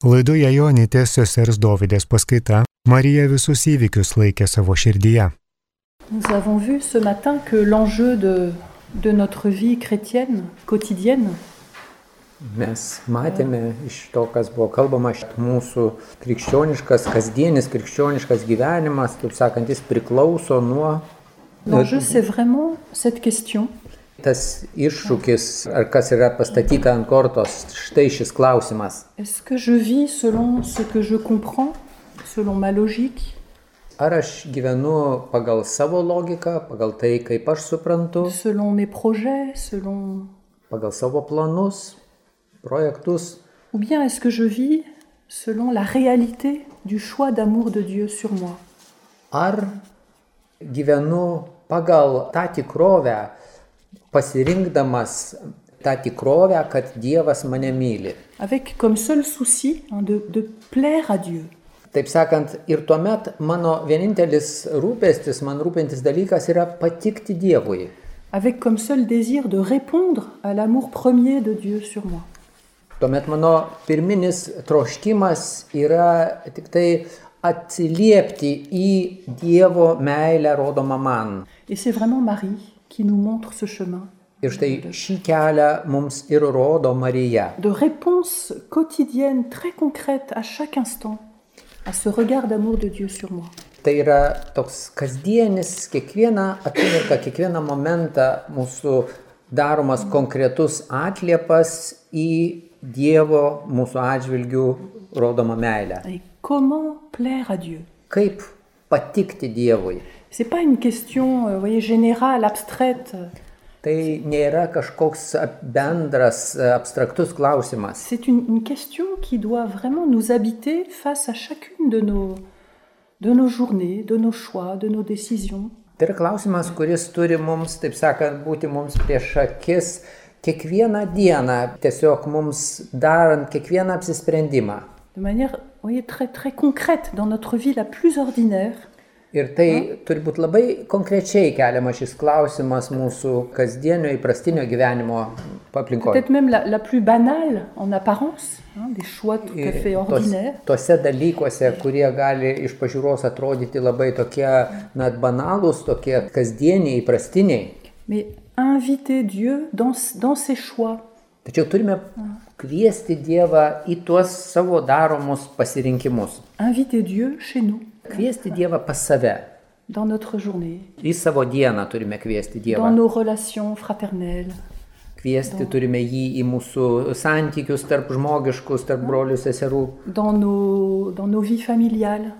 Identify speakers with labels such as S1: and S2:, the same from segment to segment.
S1: Laidoje Jonitės sesers Dovydės paskaita Marija visus įvykius laikė savo širdyje.
S2: Nous avons vu ce matin que l'enjeu de, de notre vie chrétienne, quotidienne,
S3: Mes matėme iš to, kas buvo kalbama, kad mūsų krikščioniškas, kasdienis krikščioniškas gyvenimas, taip sakant, jis priklauso nuo
S2: l'enjeu c'est vraiment cette question.
S3: tas iššūkis, ar kas yra pastatyta ant kortos, štai šis klausimas.
S2: Est-ce que je vis selon ce que je comprends, selon ma logique,
S3: Ar aš gyvenu pagal savo logiką, pagal tai, kaip aš suprantu,
S2: selon mes projets, selon...
S3: pagal savo planus, projektus,
S2: Ou bien est-ce que je vis selon la réalité du choix d'amour de Dieu sur moi
S3: ar gyvenu pagal tą tikrovę, pasirinkdamas tą tikrovę, kad Dievas mane myli.
S2: Avec comme seul souci hein, de, de plaire à Dieu.
S3: Taip sakant, ir tuomet mano vienintelis rūpestis, man rūpintis dalykas yra patikti Dievui.
S2: avec comme seul désir de répondre à l'amour premier de Dieu sur moi.
S3: Tuomet mano pirminis troškimas yra tik tai atsiliepti į Dievo meilę rodomą man.
S2: Et c'est vraiment Marie qui nous montre ce chemin
S3: Ir štai šį kelią mums ir rodo Marija.
S2: de réponse quotidienne très concrète à chaque instant à ce regard d'amour de Dieu sur moi.
S3: Tai yra toks kasdienis, kiekvieną akimirką, kiekvieną momentą mūsų daromas konkretus atliepas į Dievo mūsų atžvilgių rodomą meilę.
S2: Et comment plaire à Dieu
S3: Kaip patikti Dievui?
S2: C'est pas une question, euh, vous voyez, générale, abstraite.
S3: Tai nėra kažkoks ap- bendras e, abstraktus klausimas.
S2: C'est une, une question qui doit vraiment nous habiter face à chacune de nos, de nos journées, de nos choix, de nos décisions.
S3: Tai yra klausimas, kuris turi mums, taip sakant, būti mums prieš akis kiekvieną dieną, tiesiog mums darant kiekvieną apsisprendimą.
S2: de manière vous voyez, très, très concrète dans notre vie la plus ordinaire.
S3: Ir tai turi būti labai konkrečiai keliamas šis klausimas mūsų kasdienio įprastinio gyvenimo aplinkoje.
S2: Peut-être même la, la plus banale en apparence, hein, des choix tout à fait
S3: Ir tos,
S2: ordinaires.
S3: tose dalykuose, kurie gali iš pažiūros atrodyti labai tokie net banalūs, tokie kasdieniai, įprastiniai.
S2: Mais inviter Dieu dans, dans ses choix,
S3: Tačiau turime kviesti Dievą į tuos savo daromus pasirinkimus.
S2: inviter Dieu chez nous,
S3: Kviesti Dievą pas save.
S2: dans notre journée,
S3: Į savo dieną turime kviesti
S2: dans
S3: Dievą.
S2: nos relations fraternelles,
S3: Kviesti turime jį į mūsų santykius tarp žmogiškus, tarp brolių seserų.
S2: dans nos, dans nos vies familiales,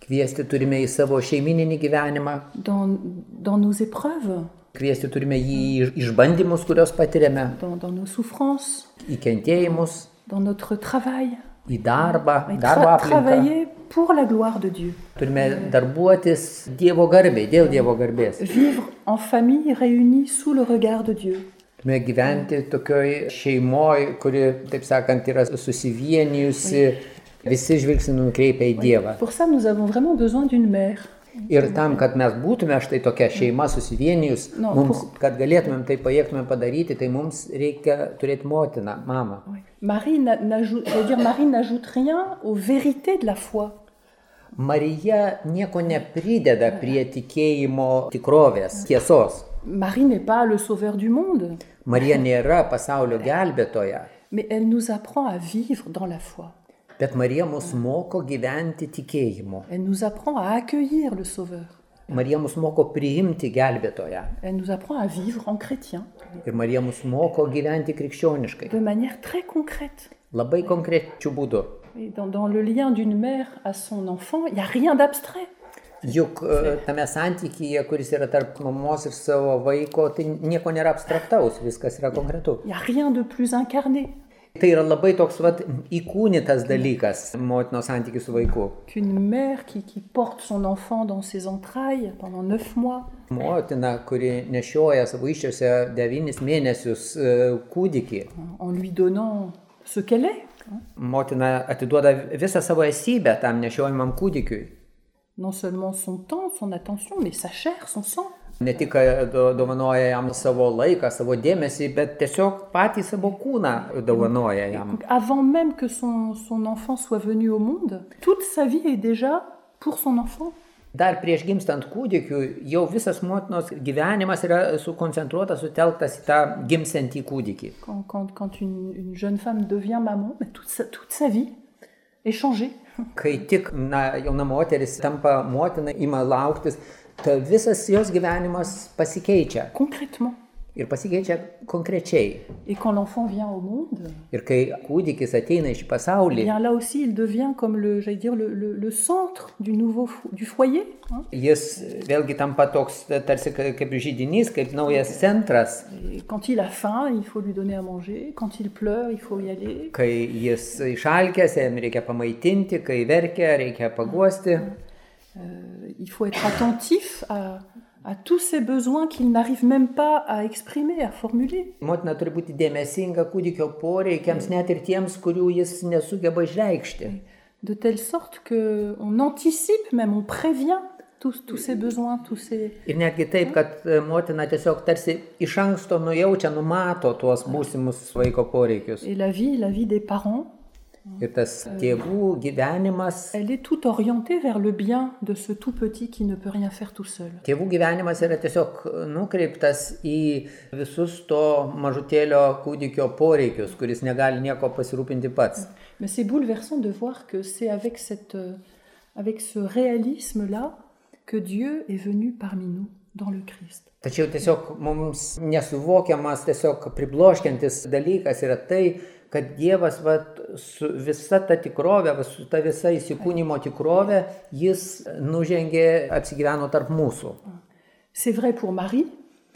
S3: Kviesti turime į savo šeimininį gyvenimą.
S2: dans, dans nos épreuves,
S3: Kviesti turime jį į išbandymus, kuriuos patiriame,
S2: dans, dans nos souffrances,
S3: į kentėjimus,
S2: dans notre travail.
S3: į darbą,
S2: Mais tra-
S3: darbo aplinką.
S2: travailler pour la gloire de Dieu.
S3: Turime darbuotis Dievo garbė, dėl Dievo garbės.
S2: Vivre en famille réunie sous le regard de Dieu.
S3: Turime gyventi tokioj šeimoj, kuri, taip sakant, yra susivienijusi, visi žvilgsniai nukreipia į Dievą.
S2: Pour ça, nous avons vraiment besoin d'une mère.
S3: Ir tam, kad mes būtume štai tokia šeima susivienijus,
S2: No,
S3: mums,
S2: kur-
S3: kad galėtumėm tai pajėgtumėm padaryti, tai mums reikia turėti motiną, mamą.
S2: Marie n'a- n'ajoute, je veux dire, Marie n'ajoute rien aux vérités de la foi.
S3: Marija nieko neprideda prie tikėjimo tikrovės, tiesos.
S2: Marie n'est pas le sauveur du monde,
S3: Marija nėra pasaulio gelbėtoja,
S2: mais elle nous apprend à vivre dans la foi.
S3: bet Marija mus moko gyventi tikėjimu.
S2: Elle nous apprend à accueillir le sauveur.
S3: Marija mus moko priimti gelbėtoją.
S2: Elle nous apprend à vivre en chrétien
S3: Ir Marija mus moko gyventi krikščioniškai.
S2: de manière très concrète.
S3: Labai konkrečių būdų.
S2: Et dans, dans le lien d'une mère à son enfant, il n'y a rien d'abstrait.
S3: Juk e, tame santykyje, kuris yra tarp mamos ir savo vaiko, tai nieko nėra abstraktaus, viskas yra konkretu.
S2: Il n'y a rien de plus incarné
S3: Tai yra labai toks vat, įkūnytas dalykas motinos santykis su vaiku.
S2: qu'une mère qui, qui porte son enfant dans ses entrailles pendant neuf mois.
S3: Motina, kuri nešioja savo iščiose devynis mėnesius e, kūdikį,
S2: en lui donnant ce qu'elle est, hein.
S3: motina atiduoda visą savo esybę tam nešiojimam kūdikiui.
S2: non seulement son temps, son attention, mais sa chair, son sang.
S3: Ne tik kad do- dovanoja jam savo laiką, savo dėmesį, bet tiesiog patį savo kūną dovanoja jam.
S2: Donc, avant même que son, son enfant soit venu au monde, toute sa vie est déjà pour son enfant.
S3: Dar prieš gimstant kūdikiu jau visas motinos gyvenimas yra sukoncentruotas, sutelktas į tą gimsiantį kūdikį.
S2: Quand, quand- quand une, une jeune femme devient maman, mais toute, sa, toute sa vie est changée.
S3: Kai tik na, jauna moteris tampa motina, ima lauktis, ta visas jos gyvenimas pasikeičia.
S2: concrètement.
S3: Ir pasikeičia konkrečiai.
S2: Et quand l'enfant vient au monde,
S3: Ir kai kūdikis ateina į šį
S2: eh
S3: pasaulį,
S2: bien là aussi, il devient comme le, j'allais dire, le, le- le centre du nouveau fo- du foyer. hein.
S3: jis vėlgi tampa toks tarsi ka- kaip žydinys, kaip naujas centras.
S2: Et quand il a faim, il faut lui donner à manger. Quand il pleure, il faut y aller.
S3: Kai jis išalkęs, jam reikia pamaitinti, kai verkia, reikia paguosti.
S2: Euh, Il faut être attentif à, à tous ces besoins qu'il n'arrive même pas à exprimer, à formuler.
S3: Motina turi būti dėmesinga kūdikio poreikiams, net ir tiems, kurių jis nesugeba išreikšti.
S2: De telle sorte que on anticipe, même on prévient tous, tous ces besoins, tous ces...
S3: Ir netgi taip, kad e, motina tiesiog tarsi iš anksto nujaučia, numato tuos būsimus vaiko poreikius.
S2: Et la vie, la vie des parents,
S3: Ir tas tėvų gyvenimas,
S2: elle est tout orientée vers le bien de ce tout petit qui ne peut rien faire tout seul.
S3: tėvų gyvenimas yra tiesiog nukreiptas į visus to mažutėlio kūdikio poreikius, kuris negali nieko pasirūpinti pats.
S2: Mais c'est bouleversant de voir que c'est avec, cette, euh, avec ce réalisme-là que Dieu est venu parmi nous dans le Christ.
S3: Tačiau tiesiog mums nesuvokiamas, tiesiog pribloškiantis dalykas yra tai, kad Dievas vat, su visa ta tikrovė, va, su ta visa įsikūnymo tikrovė, jis nužengė, apsigyveno tarp mūsų.
S2: C'est vrai pour Marie,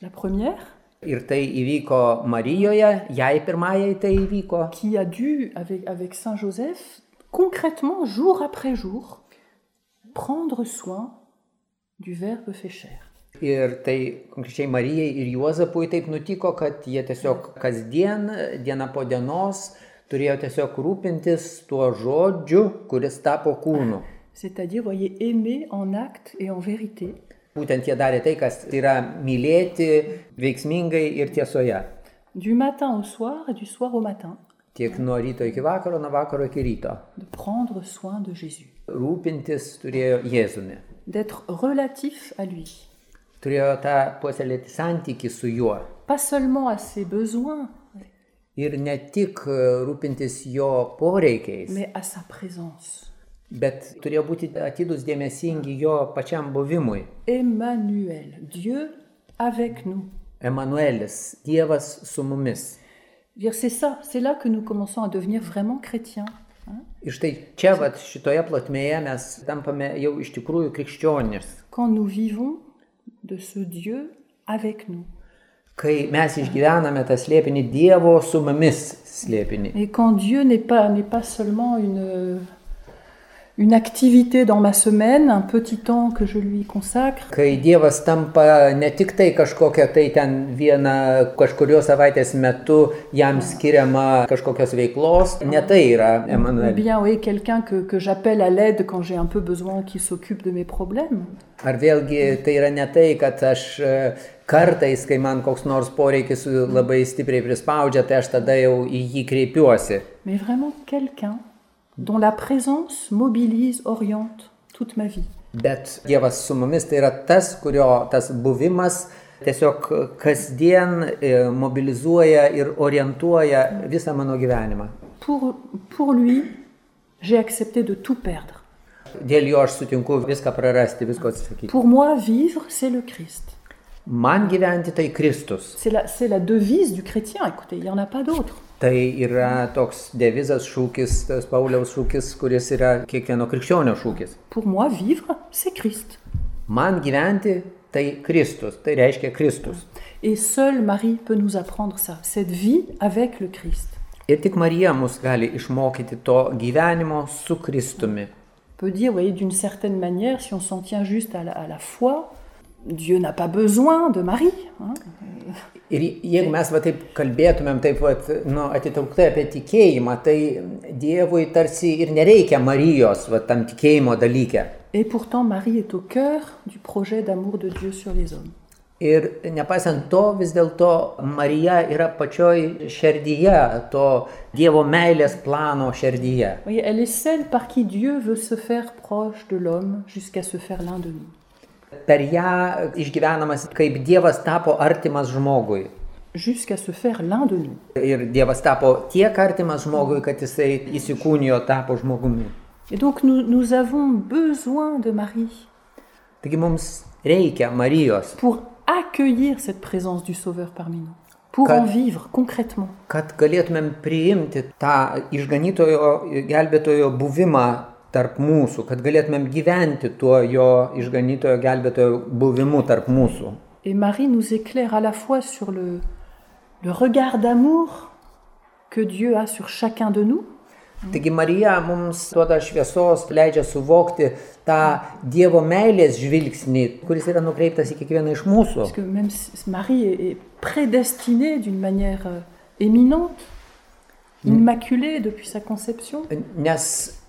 S2: la première,
S3: Ir tai įvyko Marijoje, jai pirmajai tai įvyko.
S2: qui a dû, avec, avec Saint Joseph, concrètement, jour après jour, prendre soin du Verbe fait chair.
S3: Ir tai konkrečiai Marijai ir Juozapui taip nutiko, kad jie tiesiog kasdien, diena po dienos, turėjo tiesiog rūpintis tuo žodžiu, kuris tapo kūnu.
S2: C'est-à-dire, voyez, aimer en acte et en vérité,
S3: Būtent jie darė tai, kas yra mylėti veiksmingai ir tiesoje.
S2: du matin au soir et du soir au matin,
S3: Tiek nuo ryto iki vakaro, nuo vakaro iki ryto.
S2: de prendre soin de Jésus,
S3: Rūpintis turėjo Jėzumi.
S2: d'être relatif à lui.
S3: Turėjo tą puoselėti santyki su juo.
S2: pas seulement à ses besoins,
S3: Ir ne tik e, rūpintis jo poreikiais,
S2: mais à sa présence.
S3: bet turėjo būti atidus dėmesingi jo pačiam buvimui.
S2: Emmanuel, Dieu avec nous.
S3: Emanuelis, Dievas su mumis.
S2: Je veux dire, C'est ça, c'est là que nous commençons à devenir vraiment chrétiens. hein.
S3: Ir štai čia, vat, šitoje plotmėje mes tampame jau iš tikrųjų krikščionis.
S2: Quand nous vivons de ce Dieu avec nous.
S3: kai mes išgyvename tą slėpinį Dievo su mumis slėpinį.
S2: Et quand Dieu n'est pas, n'est pas seulement une, une activité dans ma semaine, un petit temps que je lui consacre,
S3: Kai Dievas tampa ne tik tai kažkokia tai ten viena kažkurios savaitės metu jam skiriama kažkokios veiklos, ne tai yra
S2: ou
S3: Emanuelis.
S2: bien oui, quelqu'un que, que j'appelle à l'aide quand j'ai un peu besoin qui s'occupe de mes problèmes.
S3: Ar vėlgi tai yra ne tai, kad aš e, kartais, kai man koks nors poreikis labai stipriai prispaudžia, tai aš tada jau į jį kreipiuosi.
S2: mais vraiment quelqu'un dont la présence mobilise, oriente toute ma vie.
S3: Bet Dievas su mumis tai yra tas, kurio tas buvimas tiesiog kasdien e, mobilizuoja ir orientuoja visą mano gyvenimą.
S2: Pour, pour lui, j'ai accepté de tout perdre.
S3: Dėl jo aš sutinku viską prarasti, visko atsisakyti.
S2: Pour moi, vivre, c'est le Christ.
S3: Man gyventi tai Kristus.
S2: C'est la, c'est la devise du chrétien. Écoutez, il n'y en a pas d'autre.
S3: Tai yra toks devizas šūkis, tas Pauliaus šūkis, kuris yra kiekvieno krikščionio šūkis.
S2: Pour moi, vivre, c'est Christ.
S3: Man gyventi tai Kristus, tai reiškia Kristus.
S2: Et seule Marie peut nous apprendre ça, cette vie avec le Christ.
S3: Ir tik Marija mus gali išmokyti to gyvenimo su Kristumi.
S2: On peut dire, vous voyez, d'une certaine manière, si on s'en tient juste à la, à la foi, Dieu n'a pas besoin de Marie. hein.
S3: Ir jeigu mes va taip kalbėtumėm, taip vat, nu, atitrauktai apie tikėjimą, tai Dievui tarsi ir nereikia Marijos va, tam tikėjimo dalyke.
S2: Et pourtant, Marie est au cœur du projet d'amour de Dieu sur les hommes.
S3: Ir nepaisant to, vis dėlto Marija yra pačioj širdyje, to Dievo meilės plano širdyje.
S2: Vous voyez, elle est celle par qui Dieu veut se faire proche de l'homme jusqu'à se faire l'un de nous.
S3: Per ją išgyvenamas, kaip Dievas tapo artimas žmogui.
S2: Jusqu'à se faire l'un de nous.
S3: Ir Dievas tapo tiek artimas žmogui, kad jisai įsikūnijo, tapo žmogumi.
S2: Et donc nous, nous avons besoin de Marie
S3: Taigi mums reikia Marijos,
S2: pour accueillir cette présence du Sauveur parmi nous, pour
S3: Quand-
S2: en vivre concrètement.
S3: kad galėtumėm priimti tą išganytojo gelbėtojo buvimą tarp mūsų, kad galėtumėm gyventi tuo jo išganytojo gelbėtojo buvimu tarp mūsų.
S2: Et Marie nous éclaire à la fois sur le, le regard d'amour que Dieu a sur chacun de nous,
S3: Taigi Marija mums duoda šviesos, leidžia suvokti tą Dievo meilės žvilgsnį, kuris yra nukreiptas į kiekvieną iš mūsų.
S2: parce que même si Marie est, est prédestinée d'une manière euh, éminente, immaculée depuis sa conception,
S3: Nes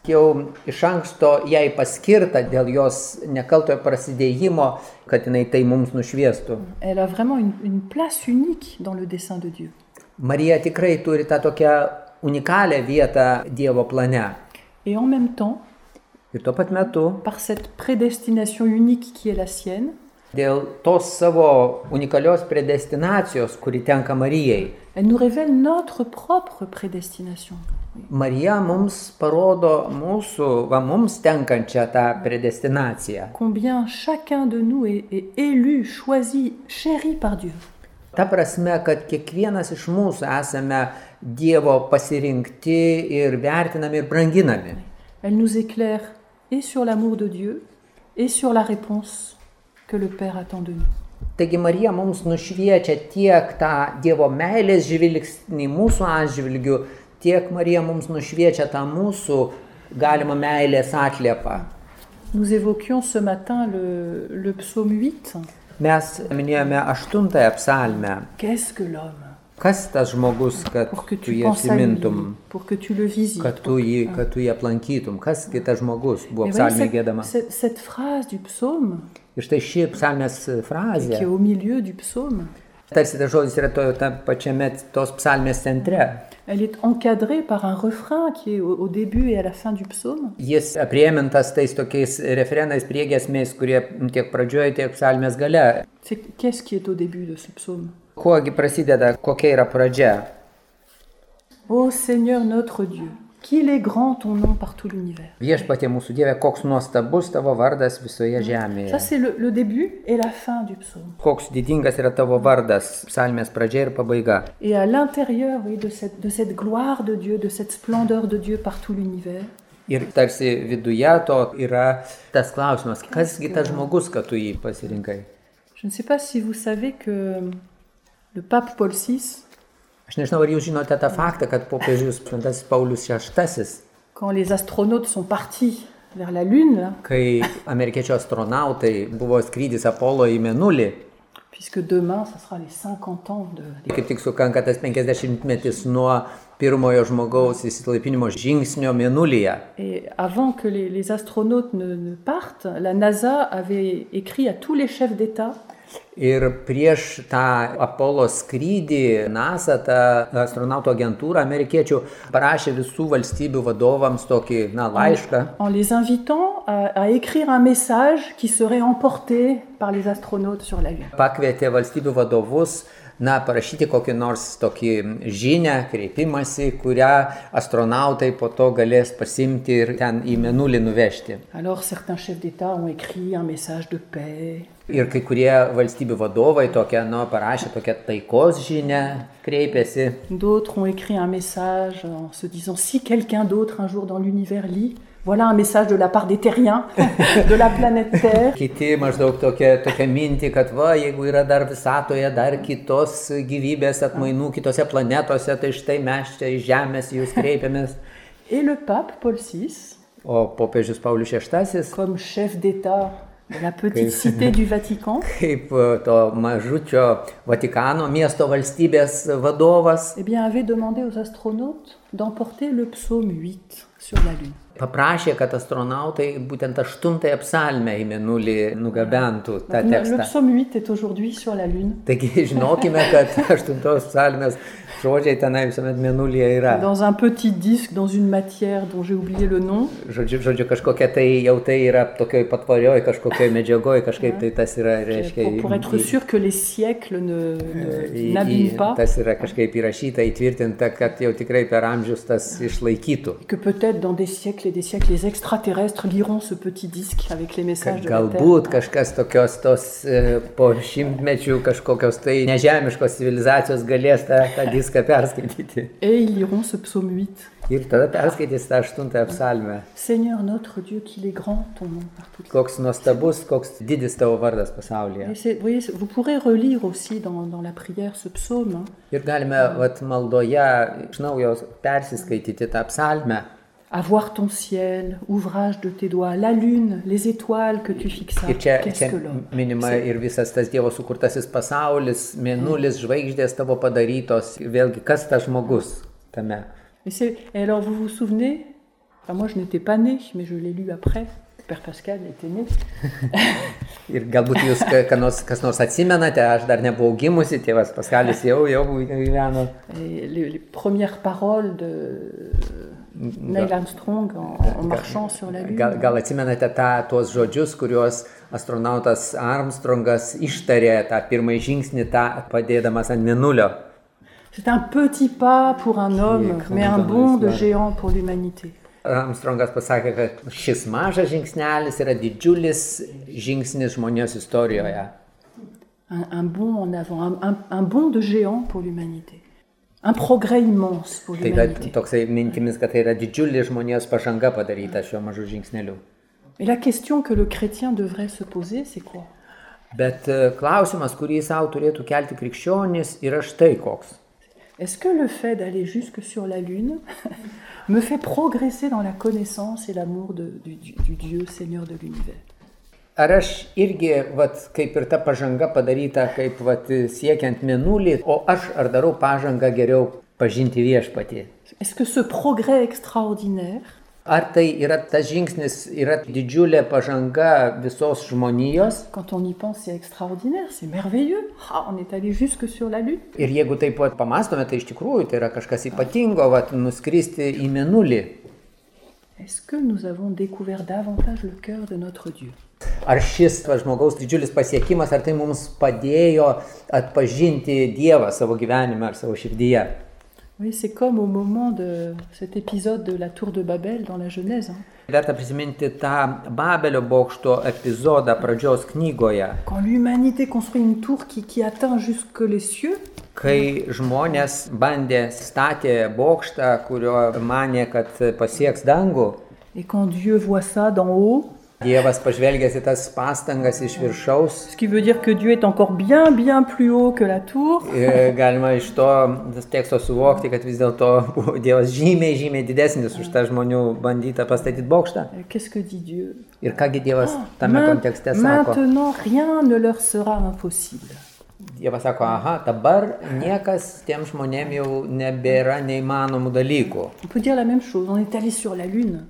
S3: jau iš anksto jai paskirta dėl jos nekaltojo prasidėjimo, kad jinai tai mums nušviestų.
S2: elle a vraiment une, une place unique dans le dessein de Dieu.
S3: Marija tikrai turi tą tokią unikalią vietą Dievo plane.
S2: Et en même temps,
S3: Ir tuo pat metu,
S2: par cette prédestination unique qui est la sienne,
S3: dėl tos savo unikalios predestinacijos, kuri tenka Marijai,
S2: elle nous révèle notre propre prédestination.
S3: Marija mums parodo mūsų, va mums tenkančią tą predestinaciją.
S2: Combien chacun de nous est, est élu, choisi, chéri par Dieu.
S3: Ta prasme, kad kiekvienas iš mūsų esame Dievo pasirinkti ir vertinami ir branginami.
S2: Elle nous éclaire et sur l'amour de Dieu et sur la réponse que le Père attend de nous.
S3: Taigi Marija mums nušviečia tiek tą Dievo meilės žvilgsnį mūsų atžvilgių, tiek Marija mums nušviečia tą mūsų galimą meilės atliepą.
S2: Nous évoquions ce matin le, le psaume 8.
S3: Mes minėjome aštuntąją psalmę.
S2: Qu'est-ce que l'homme
S3: Kas tas žmogus, kad
S2: Pour que
S3: tu
S2: tu
S3: jį
S2: penses à lui,
S3: atsimintum,
S2: pour que tu le visites.
S3: kad tu jį, kad tu jį aplankytum, kas kitas žmogus buvo
S2: Et vous voyez,
S3: psalmė
S2: cette-
S3: gėdama.
S2: cette- cette phrase du psaume,
S3: Ir štai ši psalmės
S2: qui est
S3: frazė,
S2: au milieu du psaume,
S3: tarsi tas žodis yra toje tam pačiame tos psalmės centre.
S2: Elle est encadrée par un refrain qui est au, au début et à la fin du psaume.
S3: Jis priemintas tais tokiais referenais priegesmiais, kurie tiek pradžioje, tiek psalmės gale.
S2: C'est qu'est-ce qui est au début de ce psaume
S3: Kuogi prasideda, kokia yra pradžia?
S2: Ô Seigneur notre Dieu, qu'il est grand ton nom par tout l'univers.
S3: Viešpatie mūsų Dieve, koks nuostabus tavo vardas visoje
S2: Ça,
S3: žemėje.
S2: c'est le, le début et la fin du psaume.
S3: Koks didingas yra tavo vardas, psalmės pradžia ir pabaiga.
S2: Et à l'intérieur oui, de, cette, de cette gloire de Dieu, de cette splendeur de Dieu par tout l'univers,
S3: Ir tarsi viduje to yra tas klausimas, kasgi tas žmogus, kad tu jį pasirinkai.
S2: je ne sais pas si vous savez que le pape Paul VI,
S3: Aš nežinau, ar jūs žinote tą faktą, kad popiežius Šventasis Paulius VI,
S2: quand les astronautes sont partis vers la Lune, là,
S3: kai amerikiečių astronautai buvo skrydis Apollo į Menulį,
S2: puisque demain, ça sera les 50 ans de,
S3: Tai kaip tik sukanka tas 50-metis nuo pirmojo žmogaus įsilaipinimo žingsnio mėnulyje.
S2: Et avant que les, les astronautes ne, ne partent, la NASA avait écrit à tous les chefs d'État
S3: Ir prieš tą Apollo skrydį NASA, ta astronautų agentūra amerikiečių, parašė visų valstybių vadovams tokį na, laišką,
S2: en les invitant à, à écrire un message qui serait emporté par les astronautes sur la Lune.
S3: pakvietė valstybių vadovus. Na, parašyti kokį nors tokį žinę, kreipimąsi, kurią astronautai po to galės pasimti ir ten į menulį nuvežti.
S2: Alors certains chefs d'État ont écrit un message de paix,
S3: Ir kai kurie valstybių vadovai tokia, nu, parašė tokią taikos žinę, kreipėsi.
S2: d'autres ont écrit un message en se disant si quelqu'un d'autre un jour dans l'univers lit, voilà un message de la part des terriens, de la planète Terre.
S3: Kiti maždaug tokia, tokia minti, kad va, jeigu yra dar visatoje, dar kitos gyvybės atmainų, kitose planetose, tai štai mes čia iš Žemės į jūs kreipiamės.
S2: Et le pape Paul VI,
S3: O popiežius Paulius VI,
S2: comme chef d'État de la petite cité du Vatican,
S3: kaip e, to mažučio Vatikano miesto valstybės vadovas
S2: eh bien, avait demandé aux astronautes d'emporter le psaume 8 sur la Lune.
S3: paprašė, kad astronautai būtent aštuntąją psalmę į mėnulį nugabentų tą
S2: Donc, le
S3: tekstą.
S2: psaume 8 est aujourd'hui sur la Lune,
S3: Taigi žinokime, kad aštuntos psalmės žodžiai tenai visuomet mėnulyje yra.
S2: dans un petit disque, dans une matière dont j'ai oublié le nom.
S3: Žodžiu, žodžiu, kažkokia tai jau tai yra tokioj patvarioj, kažkokioj medžiagoj, kažkaip tai tas yra, reiškia,
S2: Pour, pour être
S3: į-
S2: sûr que les siècles ne-
S3: į-
S2: ne-
S3: į-
S2: n'abîment pas,
S3: Euh, tas yra kažkaip įrašyta, įtvirtinta, kad jau tikrai per amžius tas išlaikytų.
S2: que peut-être dans des siècles et des siècles, les extraterrestres liront ce petit disque avec les messages de la
S3: Galbūt
S2: Terre.
S3: kažkas tokios tos e, po šimtmečių kažkokios tai nežemiškos civilizacijos galės tą, tą diską perskaityti.
S2: Et ils liront ce psaume 8.
S3: Ir tada perskaitys tą aštuntąją psalmę.
S2: Seigneur notre Dieu, qu'il est grand ton nom partout.
S3: Koks nuostabus, koks didis tavo vardas pasaulyje.
S2: Et c'est- vous, voyez, vous pourrez relire aussi dans, dans la prière ce psaume. hein.
S3: Ir galime vat, maldoje iš naujo persiskaityti tą psalmę.
S2: À voir ton ciel, ouvrage de tes doigts, la lune, les étoiles que tu fixas.
S3: Ir čia,
S2: Qu'est-ce
S3: čia
S2: que l'homme
S3: minima ir visas tas Dievo sukurtasis pasaulis, mėnulis, žvaigždės tavo padarytos. Vėlgi, kas tas žmogus tame?
S2: Et, c'est- et alors, vous vous souvenez Enfin, Moi, je n'étais pas née, mais je l'ai lu après. Père Pascal était né.
S3: Ir galbūt jūs ka- ką nors, kas nors atsimenate, aš dar nebuvau gimusi, tėvas Paskalis jau, jau gyveno.
S2: Et les, les premières paroles de euh, Neil Armstrong en, en marchant sur la Lune.
S3: Gal, gal atsimenate tą, tuos žodžius, kuriuos astronautas Armstrongas ištarė tą pirmąjį žingsnį, tą padėdamas ant minulio.
S2: C'est un petit pas pour un homme,
S3: grand
S2: mais un
S3: dans
S2: bond de
S3: l'histoire.
S2: géant pour l'humanité.
S3: Armstrongas pasakė, kad šis mažas žingsnelis yra didžiulis žingsnis žmonijos istorijoje.
S2: Un, un bond en avant, un, un- un bond de géant pour l'humanité. Un progrès immense pour
S3: Tai yra
S2: l'humanité.
S3: toksai mintimis, kad tai yra didžiulė žmonijos pažanga padaryta šiuo mažu žingsneliu.
S2: Et la question que le chrétien devrait se poser, c'est quoi
S3: Bet e, klausimas, kurį savo turėtų kelti krikščionis, yra štai koks.
S2: Est-ce que le fait d'aller jusque sur la Lune me fait progresser dans la connaissance et l'amour de- du, du- du Dieu Seigneur de l'univers
S3: Ar aš irgi, vat, kaip ir ta pažanga padaryta, kaip vat, siekiant mėnulį, o aš ar darau pažangą geriau pažinti viešpatį?
S2: Est-ce que ce progrès extraordinaire
S3: Ar tai yra tas žingsnis, yra didžiulė pažanga visos žmonijos?
S2: Quand on y pense, c'est extraordinaire, c'est merveilleux. Ah, on est allé jusque sur la Lune.
S3: Ir jeigu taip pat pamastome, tai iš tikrųjų tai yra kažkas ypatingo, vat, nuskristi į mėnulį.
S2: Est-ce que nous avons découvert davantage le cœur de notre Dieu
S3: Ar šis va, žmogaus didžiulis pasiekimas, ar tai mums padėjo atpažinti Dievą savo gyvenime ar savo širdyje?
S2: Oui, c'est comme au moment de cet épisode de la tour de Babel dans la Genèse. hein.
S3: Verta prisiminti tą Babelio bokšto epizodą pradžios knygoje,
S2: Quand l'humanité construit une tour qui, qui atteint jusque les cieux,
S3: kai žmonės bandė statė bokštą, kurio manė, kad pasieks dangų.
S2: et quand Dieu voit ça d'en haut,
S3: Dievas pažvelgęs į tas pastangas iš viršaus,
S2: ce qui veut dire que Dieu est encore bien, bien plus haut que la tour,
S3: e, galima iš to teksto suvokti, kad vis dėlto buvo Dievas žymiai, žymiai didesnis už tą žmonių bandytą pastatyti bokštą.
S2: euh, qu'est-ce que dit Dieu
S3: Ir kągi Dievas
S2: Ah,
S3: tame
S2: Main-
S3: kontekste sako?
S2: Maintenant, rien ne leur sera impossible.
S3: Dievas sako, aha, dabar niekas tiem žmonėm jau nebėra neįmanomų dalykų.
S2: On peut dire la même chose, on est allé sur la Lune.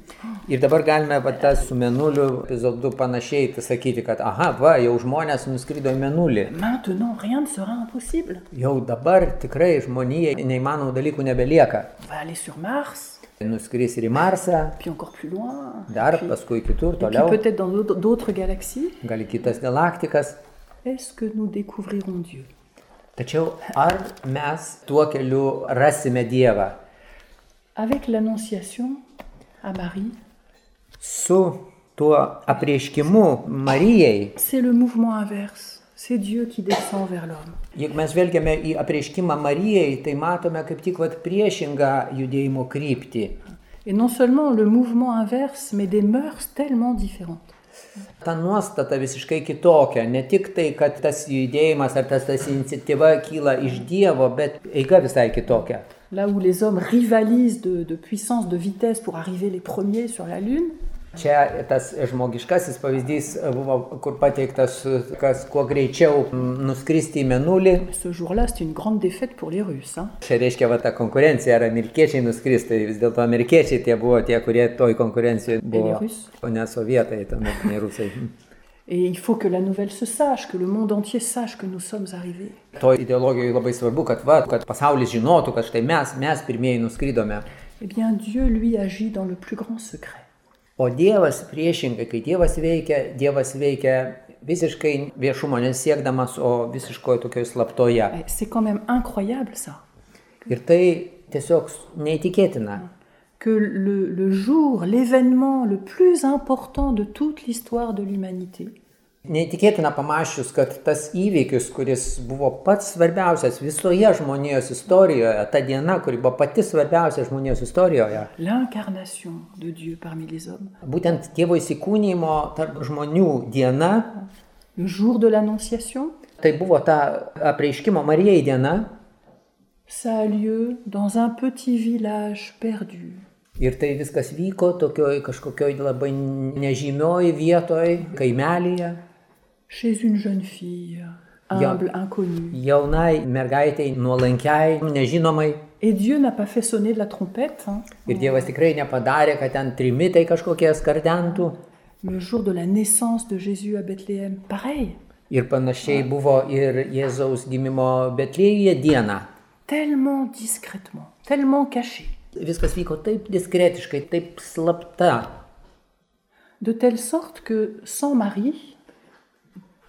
S3: Ir dabar galime va tą su menuliu epizodu panašiai tai sakyti, kad aha, va, jau žmonės nuskrido į menulį.
S2: Maintenant, rien ne sera impossible.
S3: Jau dabar tikrai žmonijai neįmanomų dalykų nebelieka.
S2: On va aller sur Mars,
S3: Nuskris ir į Marsą,
S2: puis encore plus loin,
S3: dar paskui kitur,
S2: et puis
S3: toliau,
S2: peut-être dans d'autres- d'autres galaxies.
S3: gal į kitas galaktikas.
S2: Est-ce que nous découvrirons Dieu
S3: Tačiau ar mes tuo keliu rasime Dievą?
S2: Avec l'Annonciation à Marie,
S3: Su tuo apreiškimu Marijai
S2: c'est le mouvement inverse. C'est Dieu qui descend vers l'homme.
S3: Jeigu mes žvelgiame į apreiškimą Marijai, tai matome kaip tik vat priešingą judėjimo kryptį.
S2: Et non seulement le mouvement inverse, mais des mœurs tellement différentes.
S3: Ta nuostata visiškai kitokia. Ne tik tai, kad tas judėjimas ar tas, tas iniciatyva kyla iš Dievo, bet eiga visai kitokia.
S2: Là où les hommes rivalisent de, de puissance, de vitesse pour arriver les premiers sur la Lune,
S3: Čia tas žmogiškasis pavyzdys buvo, kur pateiktas, kas kuo greičiau nuskristi į menulį.
S2: Ce jour-là, c'était une grande défaite pour les Russes. hein.
S3: Čia reiškia va ta konkurencija, ar amerikiečiai nuskris, tai vis dėlto amerikiečiai tie buvo tie, kurie toj konkurencijoje buvo,
S2: rusai.
S3: o ne sovietai, tuomet ne rusai.
S2: Et il faut que la nouvelle se sache, que le monde entier sache que nous sommes arrivés.
S3: Toj ideologijoje labai svarbu, kad, va, kad pasaulis žinotų, kad štai mes, mes pirmieji nuskridome.
S2: Eh bien, Dieu, lui, agit dans le plus grand secret.
S3: O Dievas priešingai, kai Dievas veikia, Dievas veikia visiškai viešumo nesiekdamas, o visiškoje tokioje slaptoje.
S2: Eh, C'est quand même incroyable ça,
S3: Ir tai tiesiog neįtikėtina,
S2: que le, le jour, l'événement le plus important de toute l'histoire de l'humanité,
S3: Neįtikėtina pamačius, kad tas įvykis, kuris buvo pats svarbiausias visoje žmonijos istorijoje, ta diena, kuri buvo pati svarbiausia žmonijos istorijoje,
S2: l'incarnation de Dieu parmi les hommes,
S3: būtent Dievo įsikūnymo tarp žmonių diena,
S2: le jour de l'Annonciation,
S3: tai buvo ta apreiškimo Marijai diena
S2: ça a lieu dans un petit village perdu,
S3: ir tai viskas vyko tokioj kažkokioj labai nežymioj vietoj, kaimelyje,
S2: chez une jeune fille, humble, inconnue.
S3: jaunai mergaitei, nuolankiai, nežinomai.
S2: Et Dieu n'a pas fait sonner de la trompette. hein.
S3: Ir Dievas tikrai nepadarė, kad ten trimitai kažkokie skardentų.
S2: Le jour de la naissance de Jésus à Bethléem, pareil.
S3: Ir panašiai buvo ir Jėzaus gimimo Betlėjuje dieną.
S2: Tellement discrètement, tellement caché.
S3: Viskas vyko taip diskretiškai, taip slapta.
S2: De telle sorte que sans Marie,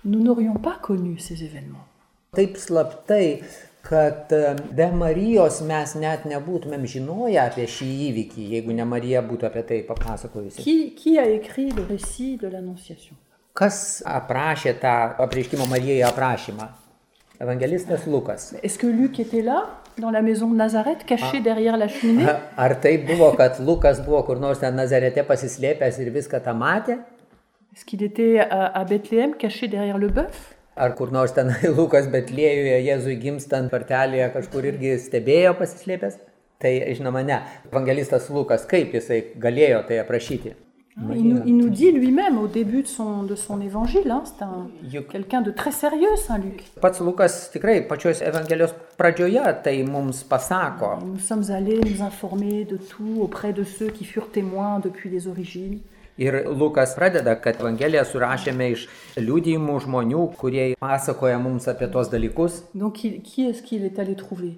S2: nous n'aurions pas connu ces événements.
S3: Taip slaptai, kad e, be Marijos mes net nebūtumėm žinoję apie šį įvykį, jeigu ne Marija būtų apie tai papasakojusi.
S2: Qui, qui a écrit le récit de l'Annonciation
S3: Kas aprašė tą apreiškimo Marijai aprašymą? Evangelistas Lukas.
S2: Est-ce que Luc était là, dans la maison de Nazareth, caché derrière la cheminée
S3: Ar tai buvo, kad Lukas buvo kur nors ten Nazarete pasislėpęs ir viską tą matė?
S2: Est-ce qu'il était à, à Bethléem, caché derrière le bœuf
S3: Ar kur nors ten Lukas Betlėjuje Jėzui gimstant partelėje kažkur irgi stebėjo pasislėpęs? Tai žinoma ne. Evangelistas Lukas, kaip jisai galėjo tai aprašyti?
S2: Ah, il nous, il nous dit lui-même au début de son, de son évangile, hein, c'est un-
S3: Juk-
S2: quelqu'un de très sérieux, Saint Luc.
S3: Pats Lukas tikrai pačios Evangelijos pradžioje tai mums pasako.
S2: Nous sommes allés nous informer de tout auprès de ceux qui furent témoins depuis les origines.
S3: Ir Lukas pradeda, kad Evangeliją surašėme iš liūdėjimų žmonių, kurie pasakoja mums apie tos dalykus.
S2: Donc il- qui est-ce qu'il est allé trouver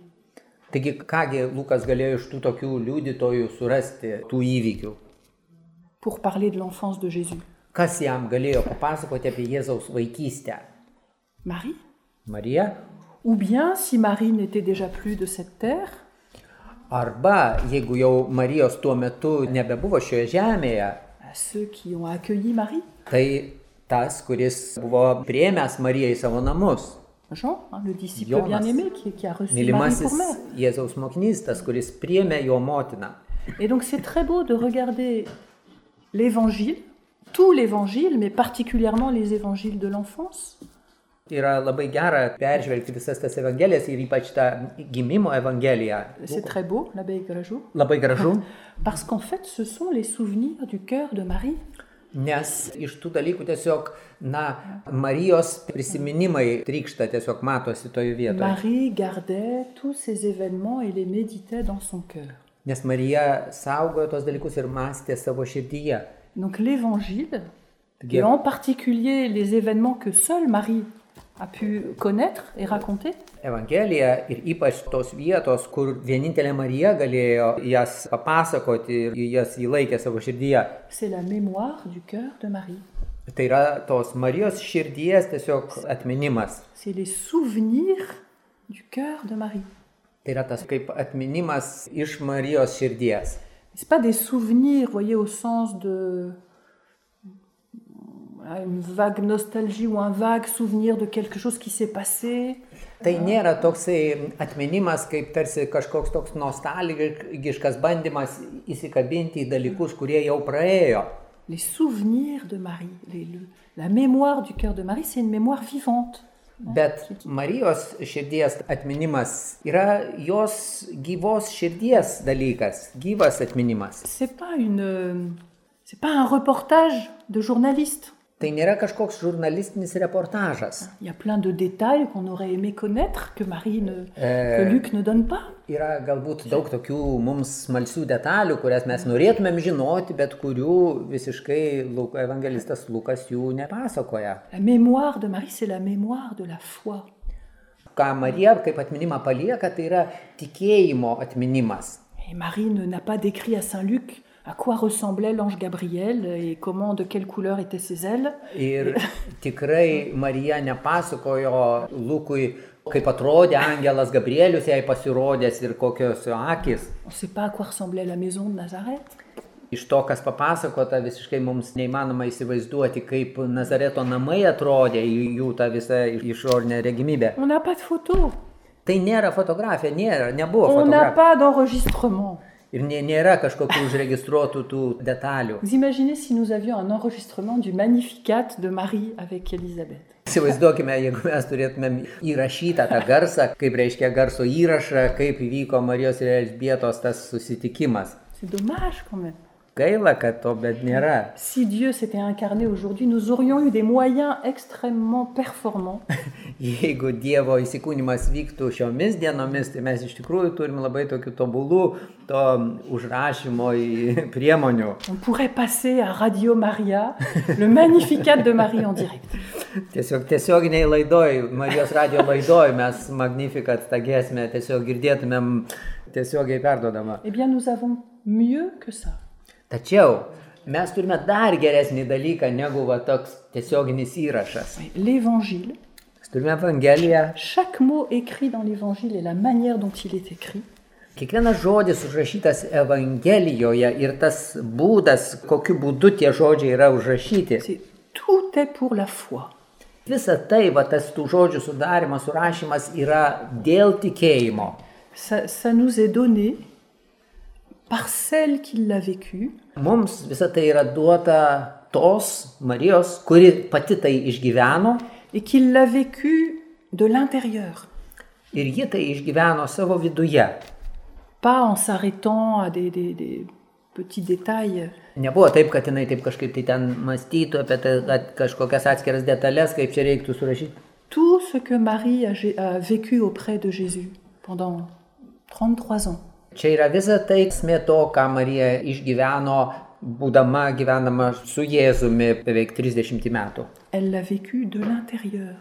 S3: Taigi, kągi Lukas galėjo iš tų tokių liudytojų surasti tų įvykių?
S2: pour parler de l'enfance de Jésus
S3: Kas jam galėjo papasakoti apie Jėzaus vaikystę?
S2: Marie
S3: Marija
S2: Ou bien, si Marie n'était déjà plus de cette terre,
S3: Arba, jeigu jau Marijos tuo metu nebebuvo šioje žemėje,
S2: à ceux qui ont accueilli Marie,
S3: tai tas, kuris buvo priemęs Mariją į savo namus.
S2: Jean, hein, le disciple
S3: Jonas.
S2: bien-aimé qui, qui a reçu Marie pour
S3: Mylimasis
S2: mère.
S3: Jėzaus mokinys, tas, kuris priemė jo motiną.
S2: Et donc c'est très beau de regarder l'évangile, tout l'évangile, mais particulièrement les évangiles de l'enfance,
S3: Yra labai gera peržvelgti visas tas evangelijas ir ypač tą gimimo evangeliją. tai
S2: c'est très beau, l'abbé Grajou,
S3: Labai gražu,
S2: parce qu'en fait ce sont les souvenirs du cœur de Marie.
S3: nes iš tų dalykų tiesiog, na, Marijos prisiminimai trykšta tiesiog matosi toje vietoje.
S2: Marie gardait tous ces événements et les méditait dans son cœur.
S3: Nes Marija saugojo tos dalykus ir mąstė savo širdyje.
S2: Donc l'évangile,
S3: Taigi
S2: et en particulier les événements que seule Marie a pu connaître et raconter,
S3: Evangelija ir ypač tos vietos, kur vienintelė Marija galėjo jas papasakoti ir jas įlaikė savo širdyje.
S2: c'est la mémoire du cœur de Marie.
S3: Tai yra tos Marijos širdies tiesiog atminimas.
S2: C'est les souvenirs du cœur de Marie.
S3: Tai yra tas kaip atminimas iš Marijos širdies.
S2: C'est pas des souvenirs, voyez, au sens de voilà, une vague nostalgie ou un vague souvenir de quelque chose qui s'est passé.
S3: Tai nėra toksai atminimas, kaip tarsi kažkoks toks nostalgiškas bandymas įsikabinti į dalykus, kurie jau praėjo.
S2: Les souvenirs de Marie, les- le- la mémoire du cœur de Marie, c'est une mémoire vivante.
S3: Bet Marijos širdies atminimas yra jos gyvos širdies dalykas, gyvas atminimas.
S2: C'est pas une, euh, C'est pas un reportage de journaliste.
S3: Tai nėra kažkoks žurnalistinis reportažas.
S2: Il y a plein de détails qu'on aurait aimé connaître que Marie ne, que
S3: E,
S2: Luc ne donne pas.
S3: yra galbūt daug tokių mums smalsių detalių, kurias mes norėtumėm žinoti, bet kurių visiškai Luk, evangelistas Lukas jų nepasakoja.
S2: La mémoire de Marie, c'est la mémoire de la foi.
S3: Ką Marija kaip atminimą palieka, tai yra tikėjimo atminimas.
S2: Et Marie ne- n'a pas décrit à Saint Luc à quoi ressemblait l'ange Gabriel et comment, de quelle couleur étaient ses ailes.
S3: Ir tikrai Marija nepasakojo Lukui, kaip atrodė Angelas Gabrielius, jai pasirodęs ir kokios jo akis.
S2: On ne sait pas à quoi ressemblait la maison de Nazareth.
S3: Iš to, kas papasakota, visiškai mums neįmanoma įsivaizduoti, kaip Nazareto namai atrodė, jų jų ta visa išorinė regimybė.
S2: On n'a pas de photos.
S3: Tai nėra fotografija, nėra, nebuvo
S2: On n'a
S3: fotografija.
S2: pas d'enregistrement.
S3: Ir nė- nėra kažkokių užregistruotų tų detalių.
S2: Vous imaginez si nous avions un enregistrement du Magnificat de Marie avec Élisabeth.
S3: Įsivaizduokime, jeigu mes turėtumėm įrašytą tą garsą, kaip reiškia garso įrašą, kaip įvyko Marijos ir Elžbietos tas susitikimas.
S2: C'est dommage quand même.
S3: Gaila, kad to bet nėra.
S2: Si Dieu s'était incarné aujourd'hui, nous aurions eu des moyens extrêmement performants
S3: Jeigu Dievo įsikūnymas vyktų šiomis dienomis, tai mes iš tikrųjų turim labai tokių tobulų to užrašymo į- priemonių.
S2: On pourrait passer à Radio Maria le magnificat de Marie en direct.
S3: Tiesiog tiesioginiai laidoj, Marijos radio laidoj mes magnifikat tą giesmę tiesiog girdėtumėm tiesiogiai perdodama.
S2: Eh bien, nous avons mieux que ça.
S3: Tačiau mes turime dar geresnį dalyką negu va toks tiesioginis įrašas.
S2: Oui, L'évangile,
S3: Mes turime Evangeliją.
S2: chaque mot écrit dans l'évangile et la manière dont il est écrit
S3: Kiekvienas žodis užrašytas Evangelijoje ir tas būdas, kokiu būdu tie žodžiai yra užrašyti.
S2: C'est tout est pour la foi.
S3: Visa tai, va tas tų žodžių sudarimas, surašymas yra dėl tikėjimo.
S2: Ça, ça nous est donné par celle qui l'a vécu,
S3: Mums visa tai yra duota tos Marijos, kuri pati tai išgyveno
S2: et qui l'a vécu de l'intérieur.
S3: ir ji tai išgyveno savo viduje.
S2: Pas en s'arrêtant à des, des- des petits détails.
S3: Nebuvo taip, kad jinai taip kažkaip tai ten mąstytų apie tai, kad kažkokias atskiras detalės, kaip čia reiktų surašyti.
S2: Tout ce que Marie a, gé- a vécu auprès de Jésus pendant 33 ans.
S3: Čia yra visa tai esmė to, ką Marija išgyveno, būdama gyvenama su Jėzumi beveik 30 metų.
S2: Elle l'a vécu de l'intérieur.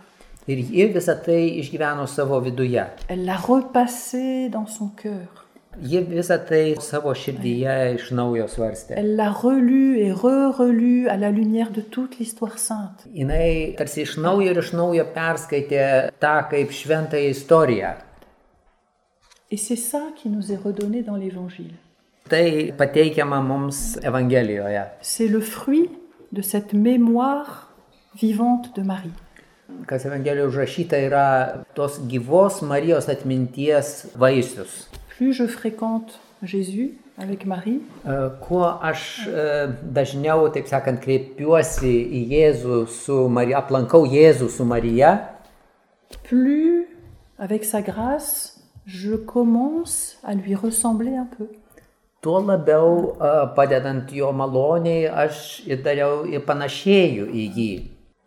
S3: Ir ji visą tai išgyveno savo viduje.
S2: Elle l'a repassé dans son cœur.
S3: Ji visą tai savo širdyje iš naujo svarstė.
S2: Elle l'a relu et re-relu à la lumière de toute l'histoire sainte.
S3: Jis tarsi iš naujo ir iš naujo perskaitė tą kaip šventąją istoriją.
S2: Et c'est ça qui nous est redonné dans l'Évangile.
S3: Tai pateikiama mums Evangelijoje.
S2: C'est le fruit de cette mémoire vivante de Marie.
S3: Kas Evangelijoje užrašyta yra tos gyvos Marijos atminties vaisius.
S2: Plus je fréquente Jésus avec Marie,
S3: E, Kuo aš e, dažniau, taip sakant, kreipiuosi į Jėzų su Marija, aplankau Jėzų su Marija,
S2: plus avec sa grâce, je commence à lui ressembler un peu.
S3: tuo labiau e, padedant jo maloniai aš ir dariau ir panašėju į jį.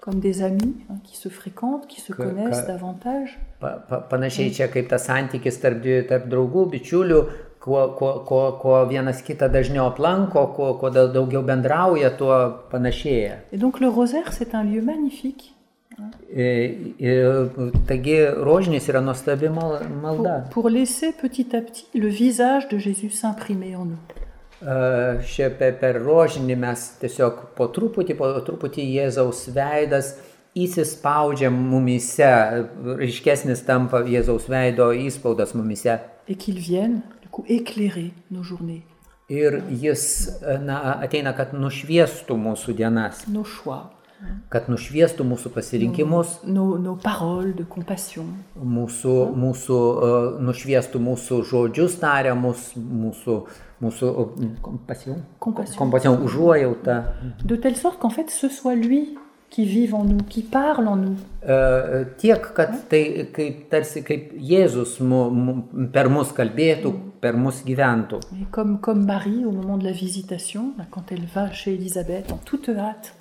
S2: Comme des amis hein, qui se fréquentent, qui se
S3: Que-
S2: connaissent
S3: que-
S2: davantage.
S3: Pa, pa, panašiai čia kaip tas santykis tarp, dvi- tarp draugų, bičiulių, kuo, kuo, kuo, kuo vienas kitą dažniau aplanko, kuo, kuo da- daugiau bendrauja, tuo panašėja.
S2: Et donc le rosaire, c'est un lieu magnifique
S3: E, e, taigi rožinis yra nuostabi mal,
S2: pour,
S3: malda.
S2: pour laisser petit à petit le visage de Jésus s'imprimer en nous.
S3: E, Šia per, per rožinį mes tiesiog po truputį, po truputį Jėzaus veidas įsispaudžia mumise, ryškesnis tampa Jėzaus veido įspaudas mumise.
S2: Et qu'il vienne, du coup, éclairer nos journées,
S3: Ir jis e, na, ateina, kad nušviestų mūsų dienas,
S2: nos choix,
S3: kad nušviestų mūsų pasirinkimus,
S2: nos, nos paroles de compassion.
S3: mūsų, mūsų e, nušviestų mūsų žodžius tariamus, mūsų, mūsų e, kompasijų.
S2: Compassion.
S3: Kompasijų užuojautą.
S2: Mhm. De telle sorte qu'en fait, ce soit lui qui vivent en nous, qui parlent en nous.
S3: E, Tiek, kad tai kaip tarsi kaip Jėzus mu, mu, per mus kalbėtų, per mus gyventų.
S2: Et comme, comme Marie au moment de la visitation, là, quand elle va chez Élisabeth en toute hâte,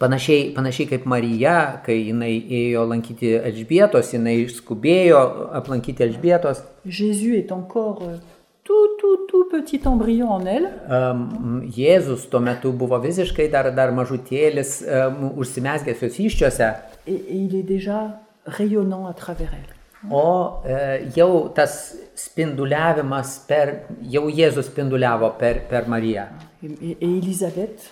S3: Panašiai, panašiai kaip Marija, kai jinai ėjo lankyti Elžbietos, jinai skubėjo aplankyti Elžbietos,
S2: Jésus est encore euh, tout, tout, tout petit embryon en elle.
S3: Am, Jėzus tuo metu buvo visiškai dar, dar mažutėlis um, užsimesgęs jos iščiose,
S2: et, et il est déjà rayonnant à travers elle.
S3: o e, jau tas spinduliavimas per, jau Jėzus spinduliavo per, per Mariją.
S2: Et, et- et Élisabeth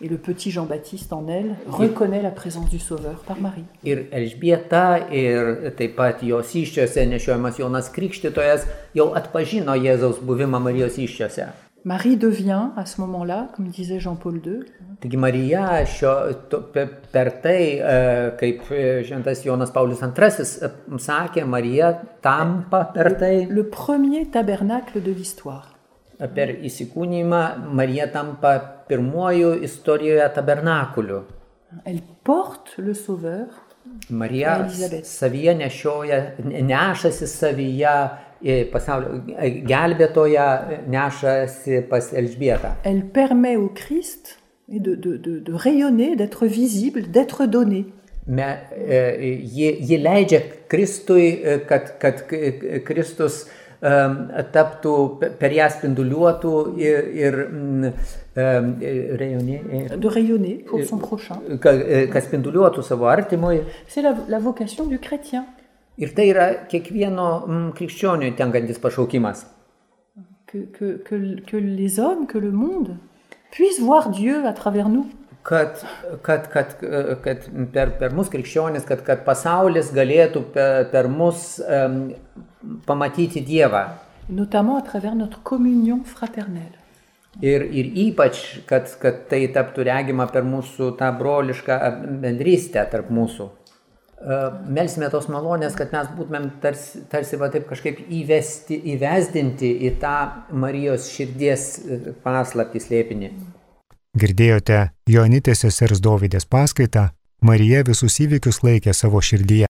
S2: et le petit Jean-Baptiste en elle reconnaît la présence du Sauveur par Marie.
S3: Ir Elžbieta, ir taip pat jos iščiose nešiojamas Jonas Krikštytojas jau atpažino Jėzaus buvimą Marijos iščiose.
S2: Marie devient à ce moment-là, comme disait Jean-Paul II,
S3: Taigi Marija šio, to, pe, per tai, e, kaip e, šventas Jonas Paulius II sakė, Marija tampa per tai,
S2: le premier tabernacle de l'histoire.
S3: per įsikūnymą, Marija tampa pirmuoju istorijoje tabernakuliu.
S2: Elle porte le Sauveur
S3: Marija
S2: Elizabeth.
S3: savyje nešioja, ne- nešasi savyje e, pasaulio e, gelbėtoją, e, nešasi pas Elžbietą.
S2: elle permet au Christ et de, de- de- de rayonner, d'être visible, d'être donné.
S3: Me, e, ji, ji leidžia Kristui, e, kad, kad k- k- Kristus e, taptų, pe- per ją spinduliuotų ir, ir mm, e, e, rejonė, e,
S2: de rayonner pour son prochain.
S3: ka- e, kad spinduliuotų savo artimui.
S2: C'est la, la vocation du chrétien.
S3: Ir tai yra kiekvieno mm, krikščioniui tenkantis pašaukimas.
S2: Que, que- que- que les hommes, que le monde puissent voir Dieu à travers nous.
S3: Kad, kad, kad, e, kad per, per mus krikščionis, kad, kad pasaulis galėtų per, per mus um, pamatyti Dievą.
S2: notamment à travers notre communion fraternelle.
S3: Ir, ir ypač, kad, kad tai taptų regima per mūsų tą brolišką bendrystę tarp mūsų. E, Melsime tos malonės, kad mes būtumėm tarsi, tarsi va taip kažkaip įvesti, įvesdinti į tą Marijos širdies e, paslaptį slėpinį.
S1: Girdėjote Joanitės sesers Dovydės paskaitą Marija visus įvykius laikė savo širdyje.